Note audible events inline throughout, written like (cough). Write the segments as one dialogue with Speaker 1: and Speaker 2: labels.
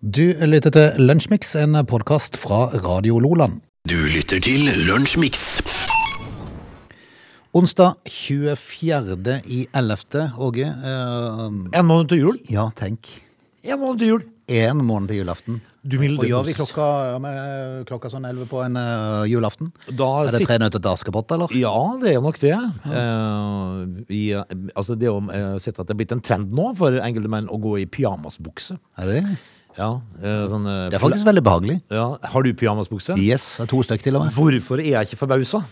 Speaker 1: Du lytter til Lunsjmix, en podkast fra Radio Loland.
Speaker 2: Du lytter til Lunsjmix.
Speaker 1: Onsdag 24. i 11. Åge. eh,
Speaker 3: En måned til jul.
Speaker 1: ja, tenk.
Speaker 3: En måned til jul.
Speaker 1: Én måned til julaften.
Speaker 3: Du milde
Speaker 1: Og gjør vi
Speaker 3: poses.
Speaker 1: klokka, ja, men, eh, klokka sånn 11 på en eh, julaften?
Speaker 3: Da
Speaker 1: Er det
Speaker 3: sit-
Speaker 1: Tre nøtter til Askepott, eller?
Speaker 3: Ja, det er nok det. Eh, vi, eh, altså det om, jeg har sett at det er blitt en trend nå for enkelte menn å gå i pyjamasbukse.
Speaker 1: Er det det?
Speaker 3: Ja, eh, sånn, eh,
Speaker 1: Det er faktisk veldig behagelig.
Speaker 3: ja, Har du pyjamasbukse?
Speaker 1: Yes, det er to stykk til og med.
Speaker 3: Hvorfor er jeg ikke forbausa?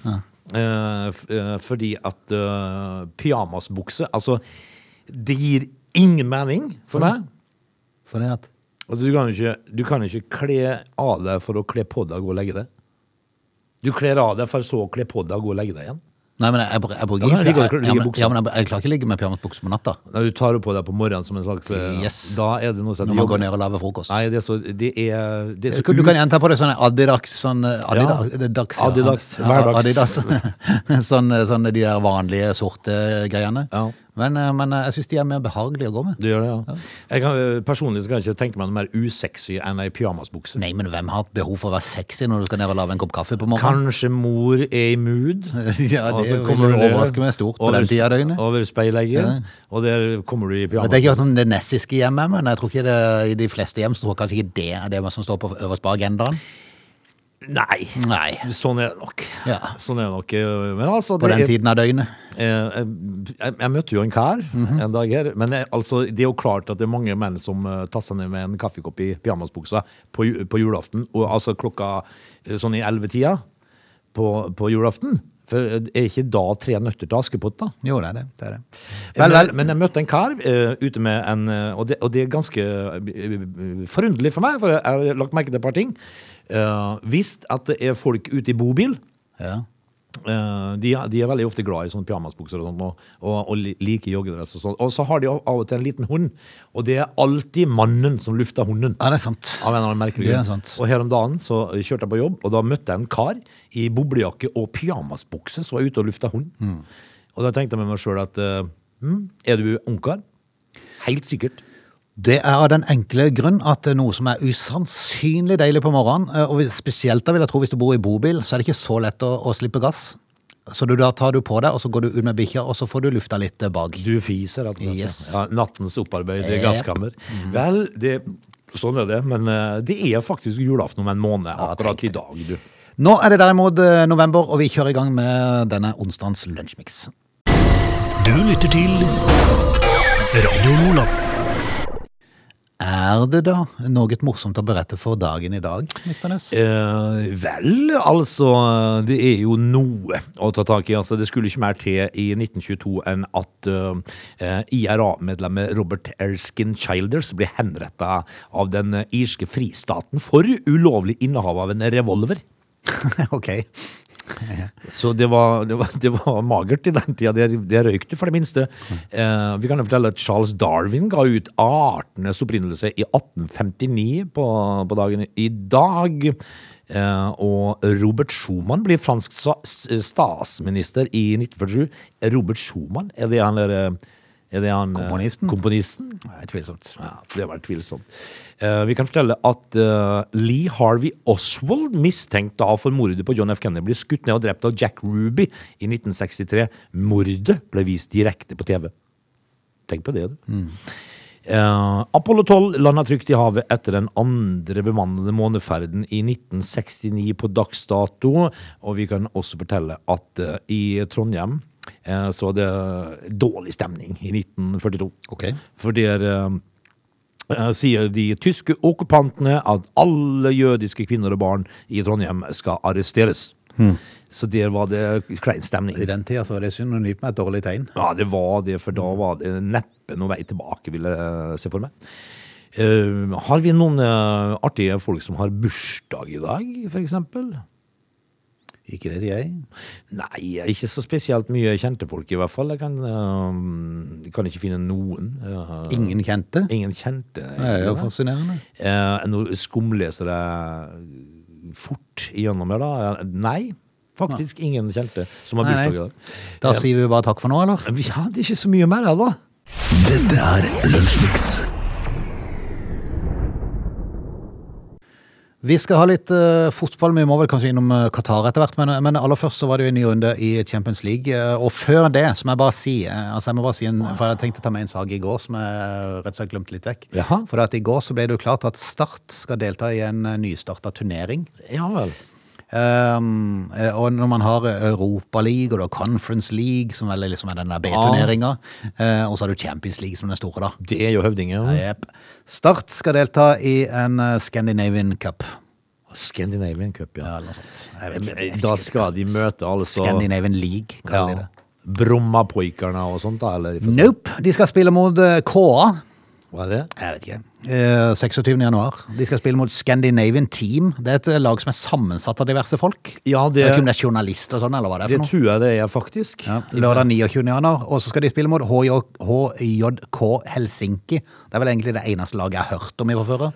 Speaker 3: Eh, f- eh, fordi at eh, pyjamasbukse Altså, det gir ingen mening for meg.
Speaker 1: For det at
Speaker 3: Altså, du kan jo ikke, du kan jo ikke kle av deg for å kle på deg og gå og legge deg. Du kler av deg for så å kle på deg og gå og legge deg igjen.
Speaker 1: Nei, men jeg, jeg, jeg, bruker
Speaker 3: Da kan du
Speaker 1: ikke-
Speaker 3: ligge og ligge i
Speaker 1: ja, men,
Speaker 3: buksa.
Speaker 1: ja, men jeg, jeg klarer ikke å ligge med pyjamasbukse på natta
Speaker 3: Når du tar det på deg på morgenen som en slags eh,
Speaker 1: Yes.
Speaker 3: Da er det noe sånn
Speaker 1: når man går ned og lager frokost.
Speaker 3: Nei, det er så Det er, det er så
Speaker 1: Du, du
Speaker 3: u-
Speaker 1: kan gjenta på det sånn Adidas sånn, Adidas, Dags, ja.
Speaker 3: Adidas,
Speaker 1: Ja,
Speaker 3: hverdags.
Speaker 1: Adidas. (laughs) sånn, sånn de der vanlige sorte greiene.
Speaker 3: Ja.
Speaker 1: Men, eh, men eh, jeg syns de er mer behagelige å gå med.
Speaker 3: Det gjør det, ja. Jeg kan, eh, personlig så kan jeg ikke tenke meg noe mer usexy enn ei pyjamasbukse.
Speaker 1: Nei, men hvem har hatt behov for å være sexy når du skal ned og lage en kopp kaffe på morgenen?
Speaker 3: Kanskje mor er i mood.
Speaker 1: (laughs) Ja,
Speaker 3: og
Speaker 1: det
Speaker 3: så
Speaker 1: vil
Speaker 3: kommer du ned
Speaker 1: overraske meg stort på
Speaker 3: over-
Speaker 1: den tida av døgnet.
Speaker 3: Over speilegget, og der kommer du i
Speaker 1: Det er
Speaker 3: pyjamas.
Speaker 1: ikke sånn det nessiske hjemmet, men jeg tror ikke det, i de fleste hjem så tror jeg kanskje ikke det er det som står på øverst på agendaen.
Speaker 3: Nei.
Speaker 1: Nei,
Speaker 3: Sånn er det nok.
Speaker 1: Ja.
Speaker 3: Sånn er det nok. eh, Men altså,
Speaker 1: på
Speaker 3: det
Speaker 1: den
Speaker 3: er-
Speaker 1: tiden av døgnet.
Speaker 3: Eh, Jeg, jeg møtte jo en kar
Speaker 1: Mhm.
Speaker 3: en dag her, men jeg, altså, det er jo klart at det er mange menn som eh, tar seg ned med en kaffekopp i pyjamasbuksa på, ju- på julaften, og altså klokka eh, sånn i 11-tida på, på julaften. For eh, er ikke da tre nøtter til Askepott, da?
Speaker 1: Jo, det er det. det, er det. Vel,
Speaker 3: men,
Speaker 1: vel.
Speaker 3: men jeg møtte en kar eh, ute med en eh, og, det, og det er ganske eh, forunderlig for meg, for jeg har lagt merke til et par ting. Uh, visst at det er folk ute i bobil.
Speaker 1: Ja.
Speaker 3: Eh, de, er- de er veldig ofte glad i sånne pyjamasbukser og sånt, og, og, og li- liker joggedress. Og sånt. Og så har de av av og til en liten hund, og det er alltid mannen som lufter hunden.
Speaker 1: ja, det er sant.
Speaker 3: Av en eller annen merkelig
Speaker 1: Det er
Speaker 3: grunn.
Speaker 1: sant.
Speaker 3: Og her om dagen så kjørte jeg på jobb, og da møtte jeg en kar i boblejakke og pyjamasbukse som var ute og lufta hund.
Speaker 1: Mm.
Speaker 3: Og da tenkte jeg med meg sjøl at eh, hm, er du ungkar? Helt sikkert.
Speaker 1: Det er av den enkle grunn at eh, noe som er usannsynlig deilig på morgenen, eh, og hvis- spesielt da vil jeg tro hvis du bor i bobil, så er det ikke så lett å, å slippe gass. Så du, da tar du på deg, og så går du ut med bikkja, og så får du lufta litt eh, bak.
Speaker 3: Du fiser, rett og slett.
Speaker 1: Yes.
Speaker 3: Ja, nattens opparbeidede
Speaker 1: Yep.
Speaker 3: gasskammer. Vel, det, sånn er det. Men eh, det er faktisk julaften om en måned akkurat i dag, du.
Speaker 1: Nå er det derimot eh, november, og vi kjører i gang med denne onsdagens lunsjmix.
Speaker 2: Du lytter til Radio Lola.
Speaker 1: Er det da noe morsomt å berette for dagen i dag, Mr. Nøss?
Speaker 3: Eh, vel, altså Det er jo noe å ta tak i. Altså, det skulle ikke mer til i 1922 enn at eh, IRA-medlemmet Robert Erskine Childers ble henretta av den eh, irske fristaten for ulovlig innehav av en revolver.
Speaker 1: (laughs) ok.
Speaker 3: Så det var, det var, det var magert i den tida. Det, det røykte, for det minste. Eh, vi kan jo fortelle at Charles Darwin ga ut artenes opprinnelse i 1859 på, på dagen i dag. Eh, og Robert Schumann blir fransk sa- s- statsminister i 1947. Robert Schumann, er det han der eh, er det han, eh,
Speaker 1: Komponisten?
Speaker 3: komponisten?
Speaker 1: Nei, tvilsomt.
Speaker 3: Ja, det var tvilsomt. Eh, vi kan fortelle at eh, Lee Harvey Oswald, mistenkt da for mordet på John F. Kennedy, ble skutt ned og drept av Jack Ruby i 1963. Mordet ble vist direkte på TV. Tenk på det, du. Eh, Apollo 12 landa trygt i havet etter den andre bemannede måneferden i 1969 på dags dato. Og vi kan også fortelle at eh, i Trondheim eh, så var det dårlig stemning i 1942.
Speaker 1: Ok.
Speaker 3: For der eh, eh, sier de tyske okkupantene at alle jødiske kvinner og barn i Trondheim skal arresteres. Så der var det klein stemning.
Speaker 1: I den tida så var det synonymt med et dårlig tegn.
Speaker 3: Ja, det var det, for da var det neppe noen vei tilbake, vil jeg eh, se for meg. Eh, har vi noen eh, artige folk som har bursdag i dag, for eksempel?
Speaker 1: Ikke det, sier jeg.
Speaker 3: Nei, ikke så spesielt mye kjente folk i hvert fall. Jeg kan, eh, kan ikke finne noen. eh,
Speaker 1: Ingen kjente.
Speaker 3: ingen kjente.
Speaker 1: Det er jo
Speaker 3: egentlig, nei.
Speaker 1: fascinerende.
Speaker 3: Eh, nå skumleser jeg fort igjennom her, da. Eh, Nei, faktisk ingen kjente som har
Speaker 1: Nei,
Speaker 3: bursdag i
Speaker 1: nei.
Speaker 3: dag.
Speaker 1: Da sier vi bare takk for nå, eller?
Speaker 3: Vi hadde ikke så mye mer, da.
Speaker 2: Dette er Lunsjmix.
Speaker 1: Vi skal ha litt eh, fotball, men vi må vel kanskje innom eh, Qatar etter hvert. Men, men aller først så var det jo en ny runde i Champions League. eh, og før det så må jeg bare si eh, altså jeg må bare si en, For jeg hadde tenkt å ta med en sag i går som jeg eh, rett og slett glemte litt vekk.
Speaker 3: Jaha.
Speaker 1: For at i går så ble det jo klart at Start skal delta i en eh, nystarta turnering.
Speaker 3: Ja vel.
Speaker 1: Um, eh, og når man har Europaliga og du har Conference League, som vel er liksom er den der B-turneringa, eh, og så har du Champions League som den store, da.
Speaker 3: Det er jo høvdingen.
Speaker 1: Jep. Start skal delta i en eh, Scandinavian Cup.
Speaker 3: Scandinavian Cup, ja. eh,
Speaker 1: Ja, eller noe sånt. Jeg vet ikke, jeg vet
Speaker 3: Da
Speaker 1: ikke.
Speaker 3: skal de møte alle så
Speaker 1: Scandinavian League, kaller de
Speaker 3: ja.
Speaker 1: det.
Speaker 3: Brommapoikerne og sånt, da? Eller for-
Speaker 1: Nope. De skal spille mot eh, KA.
Speaker 3: Hva er det?
Speaker 1: Jeg vet ikke. Eh, 26. januar. De skal spille mot Scandinavian Team. Det er et eh, lag som er sammensatt av diverse folk.
Speaker 3: Ja,
Speaker 1: Jeg
Speaker 3: det,
Speaker 1: vet ikke om det er journalister og sånn, eller hva det er
Speaker 3: det
Speaker 1: for noe.
Speaker 3: tror jeg det er, faktisk.
Speaker 1: Ja, lørdag 29. januar, og så skal de spille mot HJ, HJK Helsinki. Det er vel egentlig det eneste laget jeg har hørt om i år før.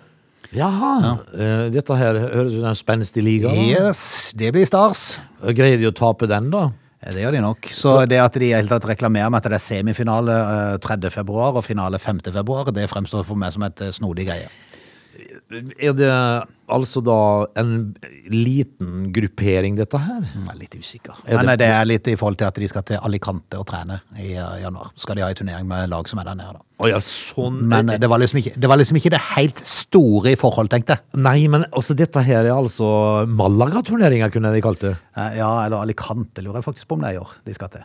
Speaker 3: Jaha. Eh, Dette her høres ut som en spenstig liga. da.
Speaker 1: Yes, det blir stas.
Speaker 3: Greier de å tape den, da?
Speaker 1: Det gjør de nok. Så, det at de i hele tatt reklamerer med at det er semifinale eh, 3. februar og finale 5. februar, det fremstår for meg som et eh, snodig greie.
Speaker 3: Er det altså da en liten gruppering, dette her?
Speaker 1: Mm, Jeg er litt usikker.
Speaker 3: Er det-
Speaker 1: Men eh, det er litt i forhold til at de skal til Alicante og trene i eh, januar. Skal de ha en turnering med lag som er der nede, da.
Speaker 3: Å ja, sånn
Speaker 1: Men eh, det var liksom ikke det, var liksom ikke det helt store i forhold, tenkte jeg.
Speaker 3: Nei, men altså, dette her er altså Malaga-turneringa, kunne de kalt det.
Speaker 1: Eh, Ja, eller Alicante lurer jeg faktisk på om det er i år de skal til.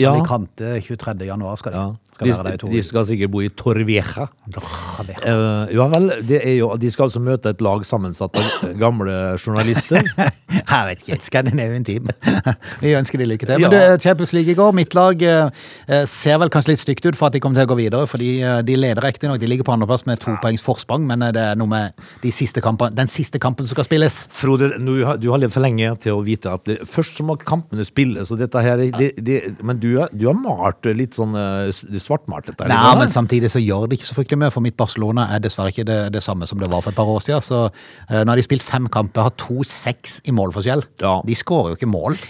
Speaker 3: Ja.
Speaker 1: Alicante 23. januar skal de.
Speaker 3: Ja.
Speaker 1: Skal være
Speaker 3: De,
Speaker 1: der i to
Speaker 3: de
Speaker 1: uker.
Speaker 3: skal sikkert bo i Torvieja.
Speaker 1: Drr, det-
Speaker 3: Eh, ja vel, det er jo, de skal altså møte et lag sammensatt av gamle journalister.
Speaker 1: (laughs) Jeg vet ikke, Scandinavian Team. (laughs) Vi ønsker de lykke til. Men
Speaker 3: Ja.
Speaker 1: du, Champions League i går, mitt lag eh, eh, ser vel kanskje litt stygt ut for at de kommer til å gå videre, fordi eh, de leder riktignok. De ligger på andreplass med to poengs forsprang, men eh, det er noe med de siste kampene, den siste kampen som skal spilles.
Speaker 3: (laughs) Frode, nå har- du har levd for lenge til å vite at det, først så må kampene spilles, og dette her det, det, Men du, har- du har malt det litt sånn eh, s- svartmalt dette. her,
Speaker 1: Nei,
Speaker 3: ikke
Speaker 1: men
Speaker 3: sant?
Speaker 1: samtidig så gjør det ikke så fryktelig mye, for mitt Barcelona er dessverre ikke det, det samme som det var for et par år siden. Så eh, nå har de spilt fem kamper, har to-seks i målforskjell.
Speaker 3: Ja.
Speaker 1: De skårer jo ikke mål.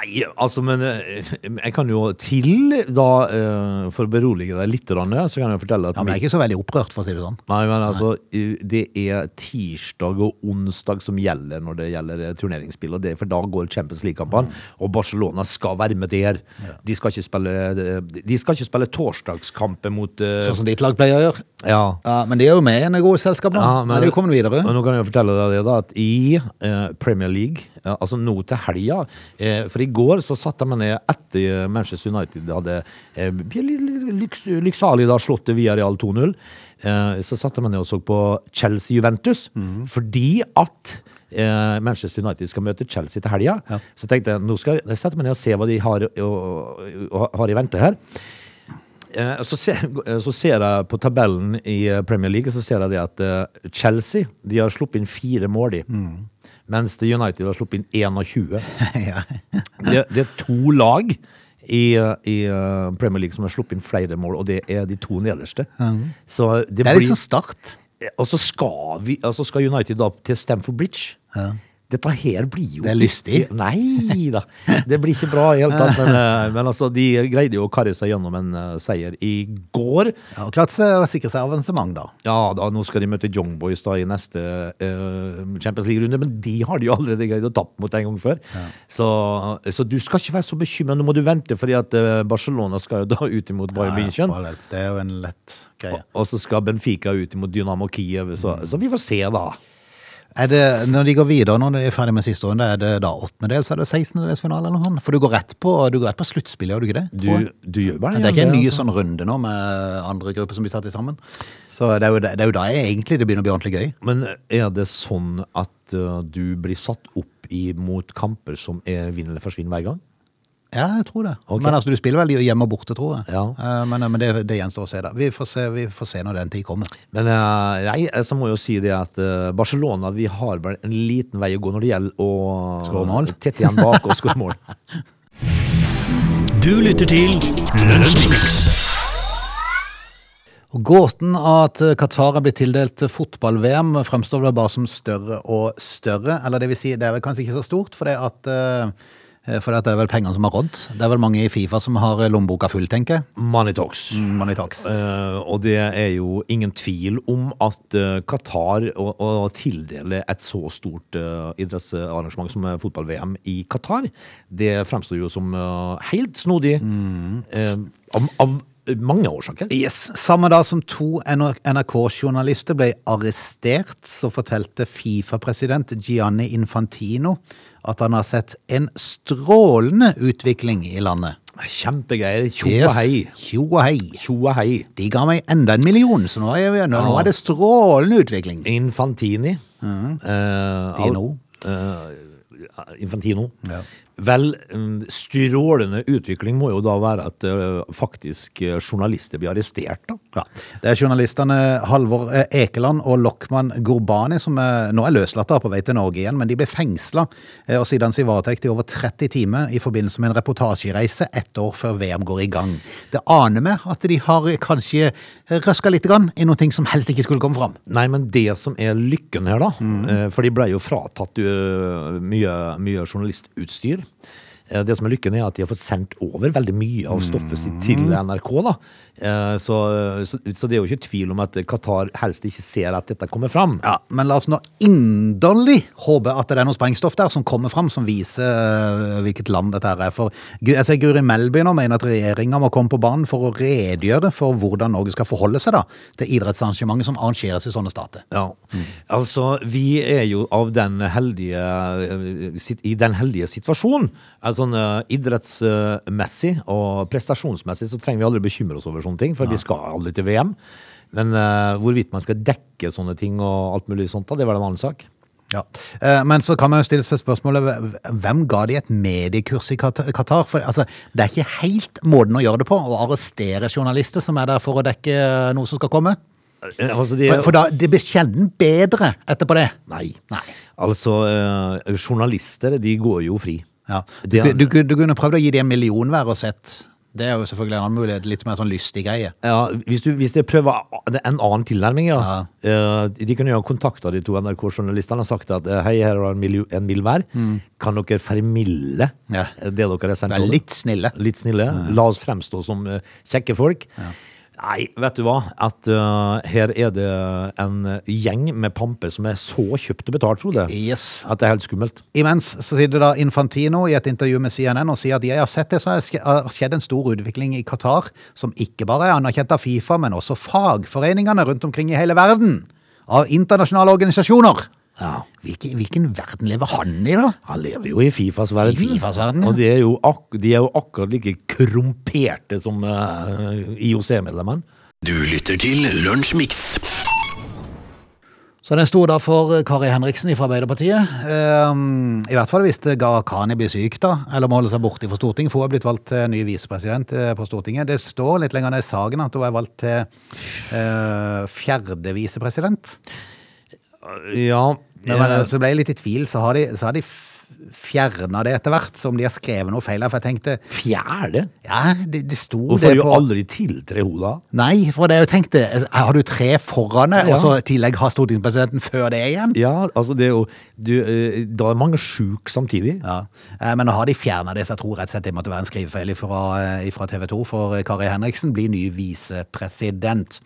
Speaker 3: Nei, altså, men eh, jeg kan jo til, da, eh, for å berolige deg litt, grann, så kan jeg fortelle at
Speaker 1: Ja, men jeg er ikke så veldig opprørt, for å si det sånn.
Speaker 3: Nei, men altså, eh, det er tirsdag og onsdag som gjelder når det gjelder eh, turneringsspill, og det, for da går Champions
Speaker 1: Mm.
Speaker 3: League-kampene, og Barcelona skal være med der. De skal ikke spille, eh, de skal ikke spille torsdagskamper mot eh,
Speaker 1: Sånn som ditt lag pleier å gjøre.
Speaker 3: Ja.
Speaker 1: Ja, men de er jo med i en god selskap nå.
Speaker 3: Ja,
Speaker 1: Ja,
Speaker 3: men-
Speaker 1: er de jo kommet videre.
Speaker 3: Og nå kan jeg jo fortelle deg det, da, at i eh, Premier League, eh, altså nå til helga eh, For i går så satte jeg meg ned etter eh, Manchester United hadde eh, blitt litt- litt lyks, lykksalig da slått det via Real 2-0. Eh, så satte jeg meg ned og så på Chelsea-Juventus, fordi at eh, Manchester United skal møte Chelsea til helga. Så tenkte jeg nå skal jeg sette meg ned og se hva de har, og, og, har i vente her. Eh, Så ser, så ser jeg på tabellen i eh, Premier League så ser jeg det at eh, Chelsea de har sluppet inn fire mål, de.
Speaker 1: Mm.
Speaker 3: Mens det United har sluppet inn 21.
Speaker 1: (laughs) ja.
Speaker 3: Det, det er to lag i, eh, i eh, Premier League som har sluppet inn flere mål, og det er de to nederste. Så det,
Speaker 1: Det er
Speaker 3: blir, eh,
Speaker 1: liksom start.
Speaker 3: Og så skal, vi, altså skal United da opp til Stamford Bridge. Dette her blir jo
Speaker 1: Det er lystig.
Speaker 3: ikke- Nei da. Det blir ikke bra i hele tatt. Men, eh, men altså, de greide jo å karre seg gjennom en eh, seier i går.
Speaker 1: Ja, og klart seg å sikre seg avansement, da.
Speaker 3: Ja, da, nå skal de møte Young Boys da i neste eh, Champions League-runde, men de har de jo allerede greid å tappe mot en gang før. Så, så du skal ikke være så bekymra. Nå må du vente, fordi at eh, Barcelona skal jo da (laughs) ut imot Bayern
Speaker 1: Ja,
Speaker 3: München.
Speaker 1: parallelt. det er jo en lett greie.
Speaker 3: Og så skal Benfica ut imot Dynamo Kiev, så,
Speaker 1: Mm.
Speaker 3: så vi får se, da.
Speaker 1: Er det, når de går videre, når de er ferdig med siste runde, er det da åttendedels eller sekstendedelsfinale eller noe sånt? For du går rett på, du går rett på sluttspillet, gjør du ikke det?
Speaker 3: Du,
Speaker 1: Tror jeg.
Speaker 3: du gjør bare
Speaker 1: det er ikke en ny
Speaker 3: altså.
Speaker 1: sånn runde nå med andre grupper som blir satt i sammen. Så det er jo, det er jo da egentlig det begynner å bli ordentlig gøy.
Speaker 3: Men er det sånn at eh, du blir satt opp imot kamper som er vinn eller forsvinn hver gang?
Speaker 1: Ja, jeg tror det.
Speaker 3: Ok.
Speaker 1: Men altså, du spiller vel hjemme og borte, tror jeg.
Speaker 3: Ja.
Speaker 1: Eh, Men, men det, det gjenstår å se, da. Vi får se, vi får se når den tid kommer.
Speaker 3: Men eh, nei, jeg så må jo si det at eh, Barcelona vi har vel en liten vei å gå når det gjelder å
Speaker 1: Skåre
Speaker 3: (laughs)
Speaker 1: mål.
Speaker 3: Tett igjen bak og skåre mål.
Speaker 2: Du lytter til Lunsjmix.
Speaker 1: Og Gåten at Qatar er blitt tildelt fotball-VM fremstår vel bare som større og større. Eller det vil si, det er vel kanskje ikke så stort, for det at eh, Eh, For at det er vel pengene som har rådd. Det er vel mange i Fifa som har eh, lommeboka full, tenker jeg.
Speaker 3: (laughs) Money talks.
Speaker 1: Mm, Money talks.
Speaker 3: Eh, og det er jo ingen tvil om at eh, Qatar å, å tildele et så stort eh, idrettsarrangement som eh, fotball-VM i Qatar, det fremstår jo som eh, helt snodig. eh, av, av mange årsaker.
Speaker 1: Yes. Samme dag som to NRK-journalister ble arrestert, så fortalte Fifa-president Gianni Infantino at han har sett en strålende utvikling i landet.
Speaker 3: Kjempegreier. Tjo og hei.
Speaker 1: Tjo og hei.
Speaker 3: Tjo og hei.
Speaker 1: De ga meg enda en million, så nå er, vi, nå
Speaker 3: Ja.
Speaker 1: er det strålende utvikling.
Speaker 3: Infantini. eh, al-
Speaker 1: Dino.
Speaker 3: eh, Infantino.
Speaker 1: Ja.
Speaker 3: Vel, mm, strålende utvikling må jo da være at eh, faktisk eh, journalister blir arrestert, da.
Speaker 1: Ja. Det er journalistene Halvor eh, Ekeland og Lokman Gurbani som eh, nå er løslatt og er på vei til Norge igjen, men de ble fengsla eh, og siden sin varetekt i over 30 timer i forbindelse med en reportasjereise ett år før VM går i gang. Det aner meg at de har eh, kanskje røska litt grann i noe som helst ikke skulle komme fram.
Speaker 3: Nei, men det som er lykken her, da eh, For de ble jo fratatt eh, mye, mye journalistutstyr. Eh, Det som er lykken, er at de har fått sendt over veldig mye av stoffet sitt til NRK. da. Eh, Så, så, så det er jo ikke tvil om at Qatar helst ikke ser at dette kommer fram.
Speaker 1: Ja, Men la oss nå inderlig håpe at det er noe sprengstoff der som kommer fram, som viser eh, hvilket land dette her er. For Gu- jeg ser Guri Melby nå mener at regjeringa må komme på banen for å redegjøre for hvordan Norge skal forholde seg da til idrettsarrangementer som arrangeres i sånne stater.
Speaker 3: Ja. Altså, vi er jo av den heldige eh, sit- I den heldige situasjonen. Eh, Sånn eh, idrettsmessig og prestasjonsmessig så trenger vi aldri bekymre oss over sånne ting, for vi skal aldri til VM. Men eh, hvorvidt man skal dekke sånne ting og alt mulig sånt, da, det var en annen sak.
Speaker 1: Ja. Eh, Men så kan man jo stille seg spørsmålet hve- hvem ga de et mediekurs i Kat- Qatar? For altså, det er ikke helt måten å gjøre det på, å arrestere journalister som er der for å dekke eh, noe som skal komme.
Speaker 3: Eh, Altså, de,
Speaker 1: For, for da, det blir sjelden bedre etterpå det.
Speaker 3: Nei.
Speaker 1: Nei.
Speaker 3: Altså, eh, journalister, de går jo fri.
Speaker 1: Ja. Du,
Speaker 3: Det er-
Speaker 1: du, kunne- du kunne prøvd å gi dem en million hver og sett. Det er jo selvfølgelig en annen mulighet. Litt mer sånn lystig greie.
Speaker 3: Ja, hvis, du, hvis de prøver a- en annen tilnærming, ja. Eh, de kunne jo ha kontakta de to NRK-journalistene og sagt at eh, hei, her har du en mil, en mil hver. Kan dere formilde
Speaker 1: Mm.
Speaker 3: eh,
Speaker 1: Ja.
Speaker 3: det dere har sendt?
Speaker 1: Vær
Speaker 3: over?
Speaker 1: litt snille.
Speaker 3: Litt snille. La oss fremstå som eh, kjekke folk. Nei, vet du hva? At eh, her er det en eh, gjeng med pamper som er så kjøpt og betalt, Frode,
Speaker 1: Yes.
Speaker 3: at det er helt skummelt.
Speaker 1: Imens så sitter da Infantino i et intervju med CNN og sier at jeg har sett det, så har ske- har skjedd en stor utvikling i Qatar, som ikke bare er anerkjent av Fifa, men også fagforeningene rundt omkring i hele verden. Av internasjonale organisasjoner.
Speaker 3: Ja.
Speaker 1: Hvilke, hvilken verden lever han i, da?
Speaker 3: Han lever jo i Fifas verden.
Speaker 1: I Fifas verden, ja.
Speaker 3: Og de er, jo ak de er jo akkurat like korrumperte som eh, IOC-medlemmene.
Speaker 2: Du lytter til Lunsjmix.
Speaker 1: Så den sto da for eh, Kari Henriksen fra Arbeiderpartiet. Ehm, I hvert fall hvis Gharahkhani blir syk, da, eller må holde seg borte fra Stortinget. For hun er blitt valgt til ny visepresident eh, på Stortinget. Det står litt lenger ned i saken at hun er valgt til eh, fjerde visepresident.
Speaker 3: Ja,
Speaker 1: Men, men eh, så ble jeg litt i tvil, så har de, så har de fjerna det etter hvert. Så om de har skrevet noe feil her. For jeg tenkte
Speaker 3: fjerde?
Speaker 1: ja, det, det sto det
Speaker 3: Hun får jo
Speaker 1: på
Speaker 3: aldri tiltre hun da.
Speaker 1: Nei, for det jeg tenkte, eh, har du tre foran deg,
Speaker 3: Ja.
Speaker 1: og så i tillegg har stortingspresidenten før det igjen?
Speaker 3: Ja, altså det er jo du, eh, Da er mange sjuk samtidig.
Speaker 1: Ja, eh, Men nå har de fjerna det, så jeg tror rett og slett det måtte være en skrivefeil fra TV 2. For eh, Kari Henriksen blir ny visepresident.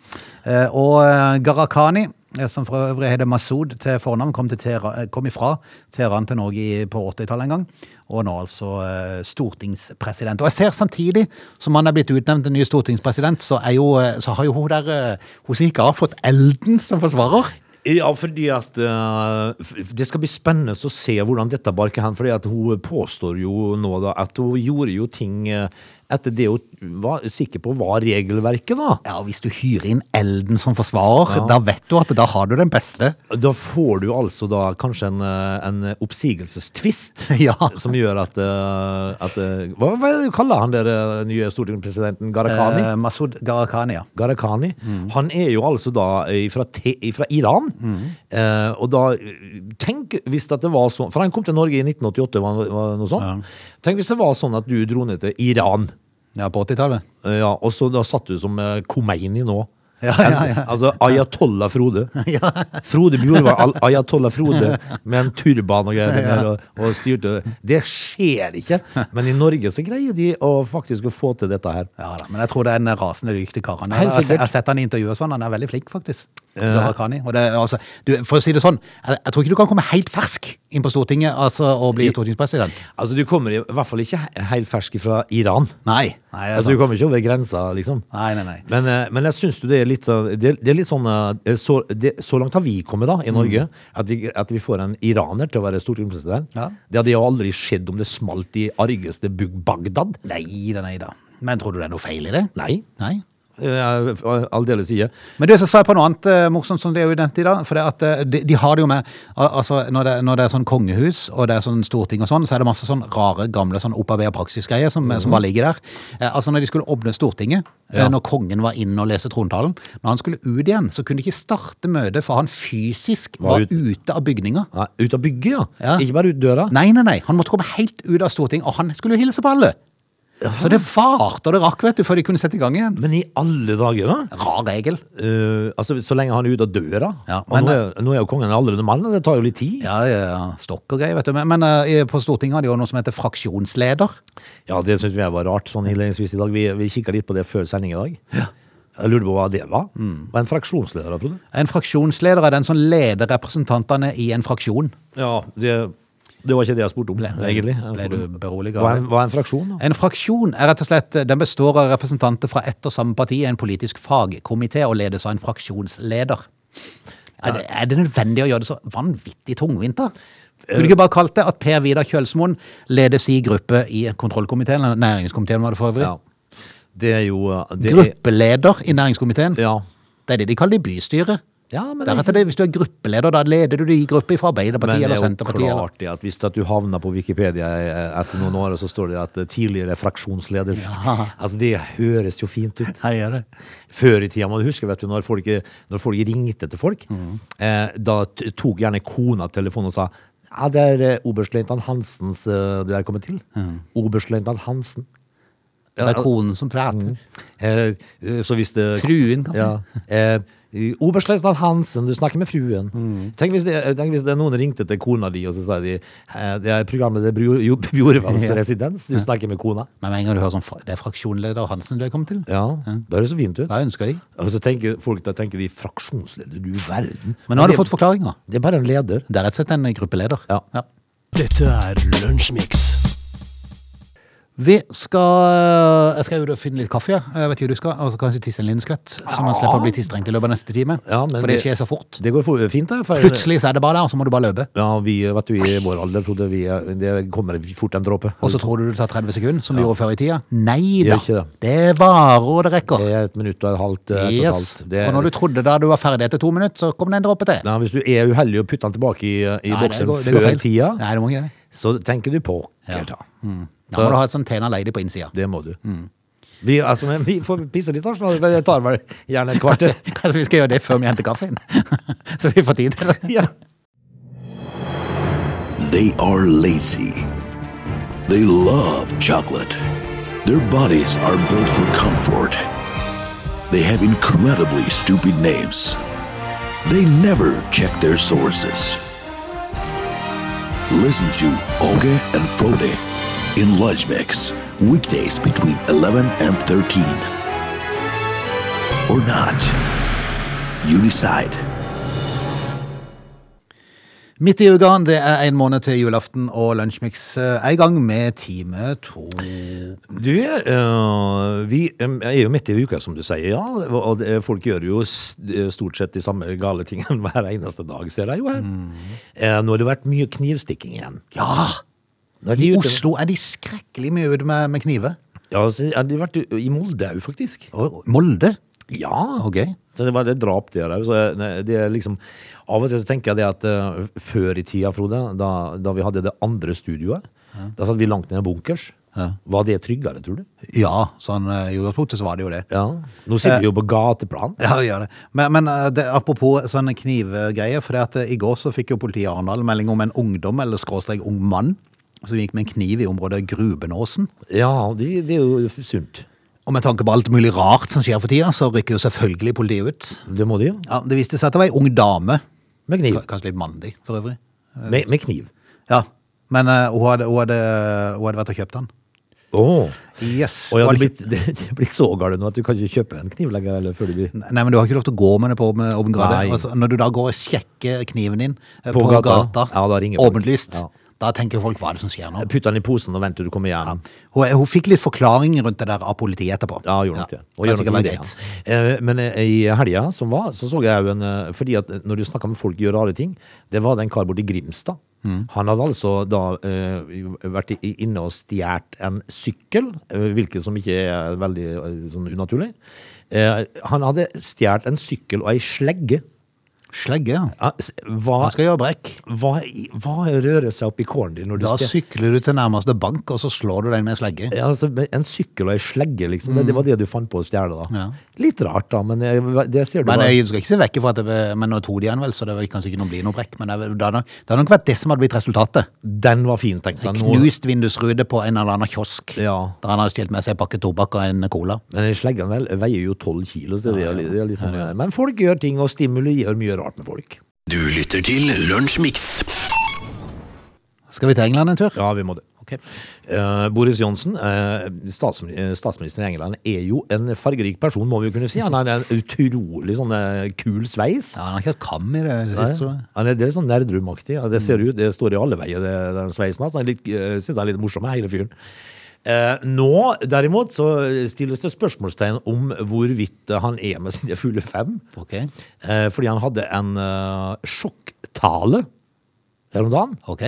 Speaker 1: Eh, Og eh, Gharahkhani, eh, som for øvrig heter Masud til fornavn, kom, til Tera- eh, kom ifra Teheran til Norge i- på 80-tallet en gang. Og nå altså eh, stortingspresident. Og jeg ser samtidig som han er blitt utnevnt til ny stortingspresident, så, er jo, eh, så har jo hun der eh, Hun som ikke har fått Elden som forsvarer.
Speaker 3: Ja, fordi at eh, f- Det skal bli spennende å se hvordan dette barker hen. fordi at hun påstår jo nå da at hun gjorde jo ting eh, etter det hun var sikker på var regelverket, da.
Speaker 1: Ja, og Hvis du hyrer inn Elden som forsvarer, da vet du at da har du den beste.
Speaker 3: Da får du altså da kanskje en, eh, en oppsigelsestvist (laughs)
Speaker 1: (laughs) Ja.
Speaker 3: som gjør at, eh, at eh, hva, hva er det du kaller han der eh, nye stortingspresidenten? Gharahkhani?
Speaker 1: Eh, Masud Gharahkhani, ja.
Speaker 3: Gharahkhani. Han er jo altså da fra, fra Iran. Eh, og da eh, Tenk hvis at det var sånn For han kom til Norge i 1988, var det var det noe sånt? Tenk hvis det var sånn at du dro ned til Iran,
Speaker 1: (laughs) ja på 80-tallet.
Speaker 3: eh, ja, og så da satt du som eh, Khomeini nå. Altså Ayatollah (laughs) Frode. Frode Bjord var al- Ayatollah Frode med en turban og greier der, og, og styrte. Det skjer ikke, men i Norge så greier de å faktisk å få til dette her.
Speaker 1: Ja da, men jeg tror det er en rasende dyktig kar. Han er.
Speaker 3: Helt
Speaker 1: Jeg har se-
Speaker 3: sikkert.
Speaker 1: jeg har sett han i intervjuer og sånn, han er veldig flink faktisk. Gharakani. Og det, er altså, du, for å si det sånn, jeg, jeg tror ikke du kan komme helt fersk inn på Stortinget altså, og bli stortingspresident.
Speaker 3: Altså, du kommer i hvert fall ikke he- helt fersk fra Iran.
Speaker 1: Nei, nei, det er
Speaker 3: Altså, du
Speaker 1: sant.
Speaker 3: kommer ikke over grensa, liksom.
Speaker 1: Nei, nei, nei.
Speaker 3: Men, eh, men jeg syns jo det er litt eh, Det, det er litt sånn eh, så, det, så langt har vi kommet, da, i
Speaker 1: Mm.
Speaker 3: Norge, at, vi, at vi får en iraner til å være stortingspresident.
Speaker 1: Ja.
Speaker 3: Det hadde jo aldri skjedd om det smalt i argeste Bug Bagdad.
Speaker 1: Nei da, nei da. Men tror du det er noe feil i det?
Speaker 3: Nei.
Speaker 1: Nei.
Speaker 3: eh, Aldeles ikke.
Speaker 1: Men du, så sa jeg på noe annet eh, morsomt som det er jo nevnt i dag, for det at eh, de, de har det jo med, al- altså når det, når det er sånn kongehus, og det er sånn storting og sånn, så er det masse sånn rare, gamle, sånn opparbeidet praksisgreier som, som bare ligger der. Eh, Altså når de skulle åpne stortinget, eh,
Speaker 3: Mhm. Ja.
Speaker 1: når kongen var inne og leste trontalen, når han skulle ut igjen, så kunne de ikke starte møtet, for han fysisk
Speaker 3: Var
Speaker 1: var
Speaker 3: ut-
Speaker 1: ute av bygninga.
Speaker 3: Nei, ut av bygget, ja.
Speaker 1: Ja.
Speaker 3: Ikke bare ut døra.
Speaker 1: Nei, nei, nei, han måtte komme helt ut av stortinget, og han skulle jo hilse på alle. Så det varte og det rakk, vet du, før de kunne sette i gang igjen.
Speaker 3: Men i alle dager, da?
Speaker 1: Rar regel.
Speaker 3: Eh, altså, så lenge han er ute av døra.
Speaker 1: Ja,
Speaker 3: og
Speaker 1: men-
Speaker 3: nå er, nå er jo kongen allerede mann, og det tar jo litt tid.
Speaker 1: Ja, ja, ja. stokk og greier, vet du. Men, men eh, på Stortinget har de jo noe som heter fraksjonsleder.
Speaker 3: Ja, det syns jeg var rart sånn innledningsvis i dag. Vi, vi kikka litt på det før sending i dag. Jeg lurte på hva det var.
Speaker 1: Mm.
Speaker 3: Hva er en fraksjonsleder, da, Frode?
Speaker 1: En fraksjonsleder er den som leder representantene i en fraksjon.
Speaker 3: Ja, det, det var ikke det jeg spurte om, egentlig.
Speaker 1: ble du beroliget
Speaker 3: Hva
Speaker 1: av
Speaker 3: er, en- hva er en fraksjon, da?
Speaker 1: En fraksjon er rett og slett, eh, den består av representanter fra ett og samme parti i en politisk fagkomité og ledes av en fraksjonsleder. Er det, er det nødvendig å gjøre det så vanvittig tungvint da? Kunne du ikke bare kalt det at Per Vidar Kjølsmoen leder si gruppe i kontrollkomiteen, eller næringskomiteen var det for øvrig?
Speaker 3: Ja. Det er jo eh, det er,
Speaker 1: Gruppeleder i næringskomiteen?
Speaker 3: ja.
Speaker 1: Det er det de kaller det i bystyret.
Speaker 3: ja, men
Speaker 1: Deretter, det, hvis du er gruppeleder, da leder du de i gruppe fra Arbeiderpartiet eller Senterpartiet.
Speaker 3: Men det er jo
Speaker 1: Eller?
Speaker 3: klart det at hvis at du havner på Wikipedia eh, etter noen år, så står det at eh, tidligere fraksjonsleder (laughs) Altså, det høres jo fint ut. Før i tida, må du huske, vet du, når folk, når folk ringte til folk,
Speaker 1: Mm.
Speaker 3: eh, da t- tok gjerne kona telefonen og sa ja, det er eh, oberstløytnant Hansens eh, du er kommet til. Oberstløytnant Hansen.
Speaker 1: Mm. Det er konen som prater.
Speaker 3: Eh, eh, så hvis det
Speaker 1: Fruen, kanskje?
Speaker 3: Ja. Eh, Oberstløytnant Hansen, du snakker med fruen.
Speaker 1: Mm.
Speaker 3: Tenk, hvis det, eh, tenk hvis det er noen ringte til kona di, og så sa de eh, det er programmet det er Bro- Jo-
Speaker 1: (laughs)
Speaker 3: Bjorvalds residens, du snakker med kona.
Speaker 1: Men med en gang du hører sånn, "Fa- det er fraksjonsleder Hansen du er kommet til,
Speaker 3: Ja, det høres så fint ut.
Speaker 1: hva ønsker de?
Speaker 3: Og så tenker Altså, folk da tenker de fraksjonsleder, du verden.
Speaker 1: Men nå har du
Speaker 3: det-
Speaker 1: fått forklaringer.
Speaker 3: Det er bare en leder.
Speaker 1: Det er rett og slett en eh, gruppeleder.
Speaker 3: Ja.
Speaker 2: Dette er Lunsjmix.
Speaker 1: Vi skal, eh, jeg skal jo da finne litt kaffe, ja. jeg vet ikke hva du skal, og så kanskje tisse en liten skvett, så man slipper å bli tisstrengt i løpet av neste time.
Speaker 3: Ja, men
Speaker 1: for det
Speaker 3: det-
Speaker 1: skjer så fort.
Speaker 3: Det går for- fint, da. for-
Speaker 1: Plutselig så er det bare der, og så må du bare løpe.
Speaker 3: Ja, vi, vet du, i vår alder, Frode, vi er- det kommer fort en dråpe.
Speaker 1: Og så tror du det tar 30 sekunder, som du gjorde før i tida. Nei
Speaker 3: Mm. Gjør
Speaker 1: da,
Speaker 3: ikke det.
Speaker 1: det varer og det rekker.
Speaker 3: Det er et minutt og et halvt. eh, et og et
Speaker 1: Yes.
Speaker 3: halvt. Det er-
Speaker 1: Og når du trodde da du var ferdig etter to minutter, så kom det en dråpe til.
Speaker 3: Nei, hvis du er uheldig og putter den tilbake i, i
Speaker 1: Nei,
Speaker 3: boksen
Speaker 1: går- går
Speaker 3: før
Speaker 1: feil.
Speaker 3: tida,
Speaker 1: Nei, det må ikke det.
Speaker 3: så tenker du på da.
Speaker 1: Da må du ha et sånt Tena Lady på innsida.
Speaker 3: Det må du.
Speaker 1: Mm.
Speaker 3: Vi, altså, men vi får pisse litt, da, sånn at det tar vel gjerne
Speaker 1: (laughs)
Speaker 3: et kvarter.
Speaker 1: Kanskje vi skal gjøre det før vi henter kaffen? (laughs) Så vi får tid til det.
Speaker 3: (laughs) ja.
Speaker 2: They are lazy. They love chocolate. Their bodies are built for comfort. They have incredibly stupid names. They never check their sources. Listen to Oge and Frode in Lunch Mix weekdays between 11 and 13. Or not. You decide.
Speaker 1: Midt i uka, det er en måned til julaften, og Lunsjmix eh, er i gang med time to.
Speaker 3: Du, eh, vi eh, er jo midt i uka, som du sier, ja. Og det- folk gjør jo s- eh, stort sett de samme gale tingene (laughs) hver eneste dag, ser jeg jo her.
Speaker 1: Mm.
Speaker 3: Eh, nå har det vært mye knivstikking igjen.
Speaker 1: Ja!
Speaker 3: Nå
Speaker 1: I
Speaker 3: er de ute-
Speaker 1: Oslo er de skrekkelig mye ute med, med kniver.
Speaker 3: Ja, så har de vært i Molde òg, faktisk.
Speaker 1: Og Molde?
Speaker 3: Ja.
Speaker 1: Ok.
Speaker 3: Så det var det drap der òg. Det er liksom Av og til så tenker jeg det at eh, før i tida, Frode, da, da vi hadde det andre studioet, da satt vi langt nede i bunkers. Var det tryggere, tror du?
Speaker 1: Ja, sånn eh, i utgangspunktet så var det jo det.
Speaker 3: Ja. Nå sitter vi jo på gateplan.
Speaker 1: Ja, vi gjør det. Men, men eh, det, apropos sånne knivgreier, for det at eh, i går så fikk jo politiet i Arendal melding om en ungdom, eller skråstrek ung mann, som gikk med en kniv i området Grubenåsen.
Speaker 3: Ja, det, det er jo sunt.
Speaker 1: Og med tanke på alt mulig rart som skjer for tida, så rykker jo selvfølgelig politiet ut.
Speaker 3: Det må de jo.
Speaker 1: Ja, det viste seg at det var ei ung dame. K-
Speaker 3: Med kniv.
Speaker 1: Kanskje litt mandig, for øvrig.
Speaker 3: Med, med kniv.
Speaker 1: Ja, Men eh, hun, hadde, hun, hadde, hun hadde vært og kjøpt den.
Speaker 3: Åh.
Speaker 1: Yes.
Speaker 3: Og jeg
Speaker 1: Hun
Speaker 3: hadde
Speaker 1: hadde
Speaker 3: blitt, (laughs) det, det er blitt så galt nå at du kan ikke kjøpe en kniv lenger. Eller før du blir.
Speaker 1: Nei, men du har ikke lov til å gå med det på åpen åpen gate.
Speaker 3: Nei.
Speaker 1: Altså, når du da går og sjekker kniven din eh,
Speaker 3: På
Speaker 1: på,
Speaker 3: gata.
Speaker 1: gata,
Speaker 3: Ja, da ringer folk.
Speaker 1: åpent lyst,
Speaker 3: Ja.
Speaker 1: da tenker folk hva er det som skjer nå?
Speaker 3: Putt den i posen og vent til du kommer hjem.
Speaker 1: Hun, hun fikk litt forklaring rundt det der av politiet etterpå.
Speaker 3: Ja, gjorde nok det. Og
Speaker 1: kan
Speaker 3: gjør
Speaker 1: sikkert
Speaker 3: nok
Speaker 1: være
Speaker 3: det, ja.
Speaker 1: greit.
Speaker 3: Eh, Men eh, i helga som var, så så jeg jo en eh, Fordi at når du snakker med folk gjør rare ting, det var den kar borte i Grimstad.
Speaker 1: Mm.
Speaker 3: Han hadde altså da eh, vært i- inne og stjålet en sykkel, eh, hvilket som ikke er veldig eh, sånn unaturlig. Eh, han hadde stjålet en sykkel og ei slegge.
Speaker 1: Slegge, ja.
Speaker 3: Ja, s- Hva,
Speaker 1: Han skal gjøre brekk.
Speaker 3: hva, i- hva rører seg opp i kålen din når du
Speaker 1: Da
Speaker 3: stjeler?
Speaker 1: sykler du til nærmeste bank, og så slår du den med en slegge.
Speaker 3: Ja, altså, men en sykkel og ei slegge, liksom. Det, det var det du fant på å stjele, da.
Speaker 1: Mm. Ja.
Speaker 3: Litt rart, da, men eh, det ser du
Speaker 1: Men
Speaker 3: bare-
Speaker 1: jeg skal ikke se vekk ifra at det Men nå to de igjen, vel, så det vil kanskje ikke noe bli noe brekk. Men det, er vel- det, har nok, det har nok vært det som hadde blitt resultatet.
Speaker 3: Den var fin, tenkte jeg. Nå,
Speaker 1: Knust vindusrude på en eller annen kiosk.
Speaker 3: Ja.
Speaker 1: Der han hadde stilt med seg en pakke tobakk og en cola.
Speaker 3: men sleggen vel, veier jo 12 kilo. Så det er, det er liksom, Men folk gjør ting, og stimuli gjør mye rart med folk.
Speaker 2: Du lytter til Lunsjmix.
Speaker 1: Skal vi til England en tur?
Speaker 3: Ja, vi må det.
Speaker 1: Ok.
Speaker 3: Eh, Boris Johnson, eh, statsmi- eh, statsministeren i England, er jo en fargerik person, må vi jo kunne si. Han har en utrolig sånn eh, kul sveis.
Speaker 1: Ja, han har ikke hatt kam i det siste, tror jeg.
Speaker 3: Han er, det er litt sånn nerdrumaktig. Ja, det ser ut, det står i alle veier, det, den sveisen hans. Jeg syns han er litt morsom, hele fyren. Eh, nå, derimot, så stilles det spørsmålstegn om hvorvidt han er med sine fulle fem.
Speaker 1: Ok,
Speaker 3: Eh, fordi han hadde en eh, sjokktale her om dagen.
Speaker 1: ok.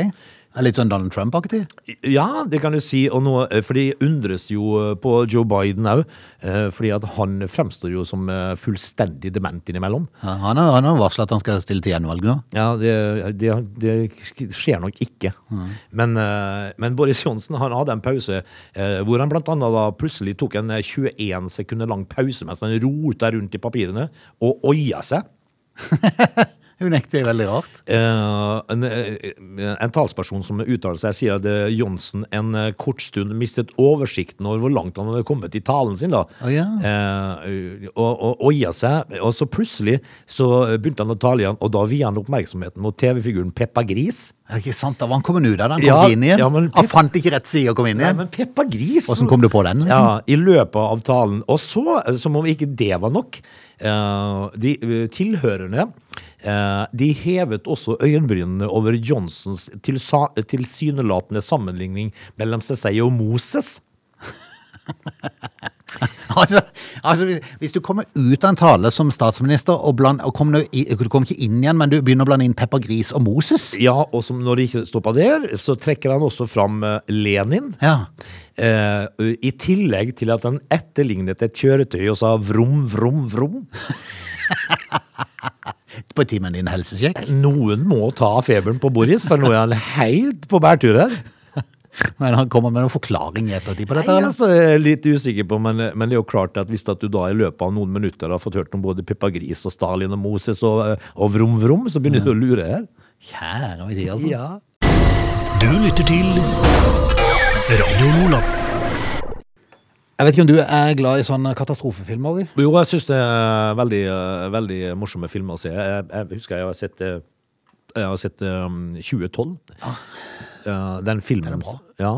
Speaker 1: Det er Litt sånn Donald Trump-aktig.
Speaker 3: Ja, det kan du si. Og nå, eh, for de undres jo eh, på Joe Biden òg. Fordi at han fremstår jo som eh, fullstendig dement innimellom.
Speaker 1: Ja, Han har, han har varslet at han skal stille til gjenvalg nå.
Speaker 3: Ja, det, det, det skjer nok ikke. Men, eh, men Boris Johnsen han hadde en pause eh, hvor han blant annet da plutselig tok en eh, 21 sekunder lang pause mens han rota rundt i papirene og oia seg.
Speaker 1: Unektig veldig rart.
Speaker 3: Eh, en, eh, en talsperson som uttaler seg, sier at eh, Johnsen en eh, kort stund mistet oversikten over hvor langt han hadde kommet i talen sin. da
Speaker 1: Å, ja.
Speaker 3: Eh, og, og oia seg. Og så plutselig så begynte han å tale igjen, og da viet han oppmerksomheten mot TV-figuren Peppa Gris.
Speaker 1: Er det ikke sant? Da var han kommet ut av den, kom
Speaker 3: Ja,
Speaker 1: ikke inn igjen.
Speaker 3: ja, men-
Speaker 1: Han fant ikke rett side og kom inn
Speaker 3: Nei,
Speaker 1: igjen.
Speaker 3: men Peppa Gris
Speaker 1: Hvordan kom du på den? Liksom?
Speaker 3: Ja, I løpet av talen. Og så, eh, som om ikke det var nok, eh, de eh, tilhørende eh, de hevet også øyenbrynene over Johnsons tilsa- tilsynelatende sammenligning mellom seg og Moses.
Speaker 1: (laughs) Altså, altså, hvis- hvis du kommer ut av en tale som statsminister, og, bland, og kommer nå i, du kommer ikke inn igjen, men du begynner å blande inn Peppa Gris og Moses.
Speaker 3: Ja, og som når det ikke stoppa der, så trekker han også fram eh, Lenin.
Speaker 1: Ja.
Speaker 3: Eh, I tillegg til at han etterlignet et kjøretøy og sa vrom, vrom, vrom.
Speaker 1: På timen din helsesjekk.
Speaker 3: Noen må ta feberen på Boris, for nå er han helt på bærtur her.
Speaker 1: Men han kommer med noen forklaring i ettertid på dette.
Speaker 3: Nei,
Speaker 1: eller?
Speaker 3: altså, jeg er litt usikker på, men, men det er jo klart at hvis at du da i løpet av noen minutter har fått hørt om både Pippa Gris og Stalin og Moses og, og Vrom Vrom, så begynner du å lure her.
Speaker 1: Kjære min tid, altså.
Speaker 3: Ja.
Speaker 4: Du lytter til Radio Lola.
Speaker 1: Jeg vet ikke om du er glad i sånne katastrofefilmer? Ori?
Speaker 3: Jo, jeg syns det er veldig, eh, veldig morsomme filmer å se. Jeg, jeg husker jeg har sett, eh, jeg har sett um, 2012. Eh, Ah. den filmen
Speaker 1: Den er bra.
Speaker 3: Ja.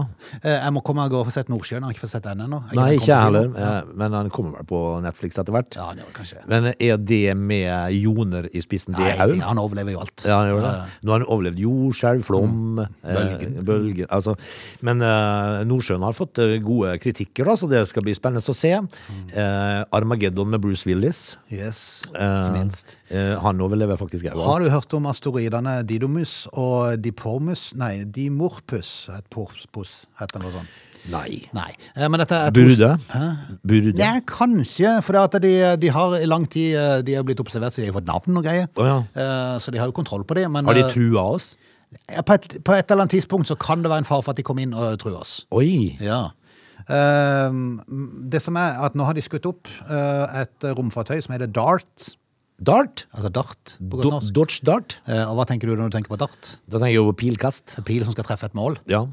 Speaker 1: Eh, Jeg må komme og gå og få sett Nordsjøen. Jeg har ikke fått sett den ennå. Jeg
Speaker 3: Nei,
Speaker 1: kan
Speaker 3: ikke jeg
Speaker 1: komme
Speaker 3: heller,
Speaker 1: til den.
Speaker 3: eh, men han kommer vel på Netflix etter hvert.
Speaker 1: Ja, det gjør det kanskje.
Speaker 3: Men er det med Joner i spissen, det
Speaker 1: Nei,
Speaker 3: òg?
Speaker 1: ingenting. han overlever jo alt. Mm.
Speaker 3: Ja, han gjorde det. Nå har han overlevd jordskjelv, flom, bølgen. Eh, bølgen altså. Men eh, Nordsjøen har fått eh, gode kritikker, da, så det skal bli spennende å se.
Speaker 1: Mm.
Speaker 3: Eh, Armageddon med Bruce Willis.
Speaker 1: Yes,
Speaker 3: Eh,
Speaker 1: ikke minst.
Speaker 3: eh, han overlever faktisk jeg, da.
Speaker 1: Har du hørt om asteroidene Didomus og Dipormus? Nei, Dimorpus. Et porpus, heter det noe sånt.
Speaker 3: Nei.
Speaker 1: Nei, eh, men dette er to-
Speaker 3: Burde. Burde.
Speaker 1: Nei, kanskje, for det at de, de har i lang tid eh, De har blitt observert, så de har fått navn og greier.
Speaker 3: Å, ja.
Speaker 1: Eh, Så de har jo kontroll på det. Men
Speaker 3: Har de
Speaker 1: eh,
Speaker 3: trua oss?
Speaker 1: ja, på, et, på et eller annet tidspunkt så kan det være en fare for at de kommer inn og truer oss.
Speaker 3: Oi.
Speaker 1: Ja. Eh, Det som er at nå har de skutt opp eh, et romfartøy som heter DART.
Speaker 3: Dart?
Speaker 1: Altså DART på godt
Speaker 3: Do
Speaker 1: norsk.
Speaker 3: Dodge Dart?
Speaker 1: Eh, Og hva tenker du når du tenker på DART?
Speaker 3: Da tenker jeg jo på pilkast.
Speaker 1: En pil som skal treffe et mål?
Speaker 3: Ja.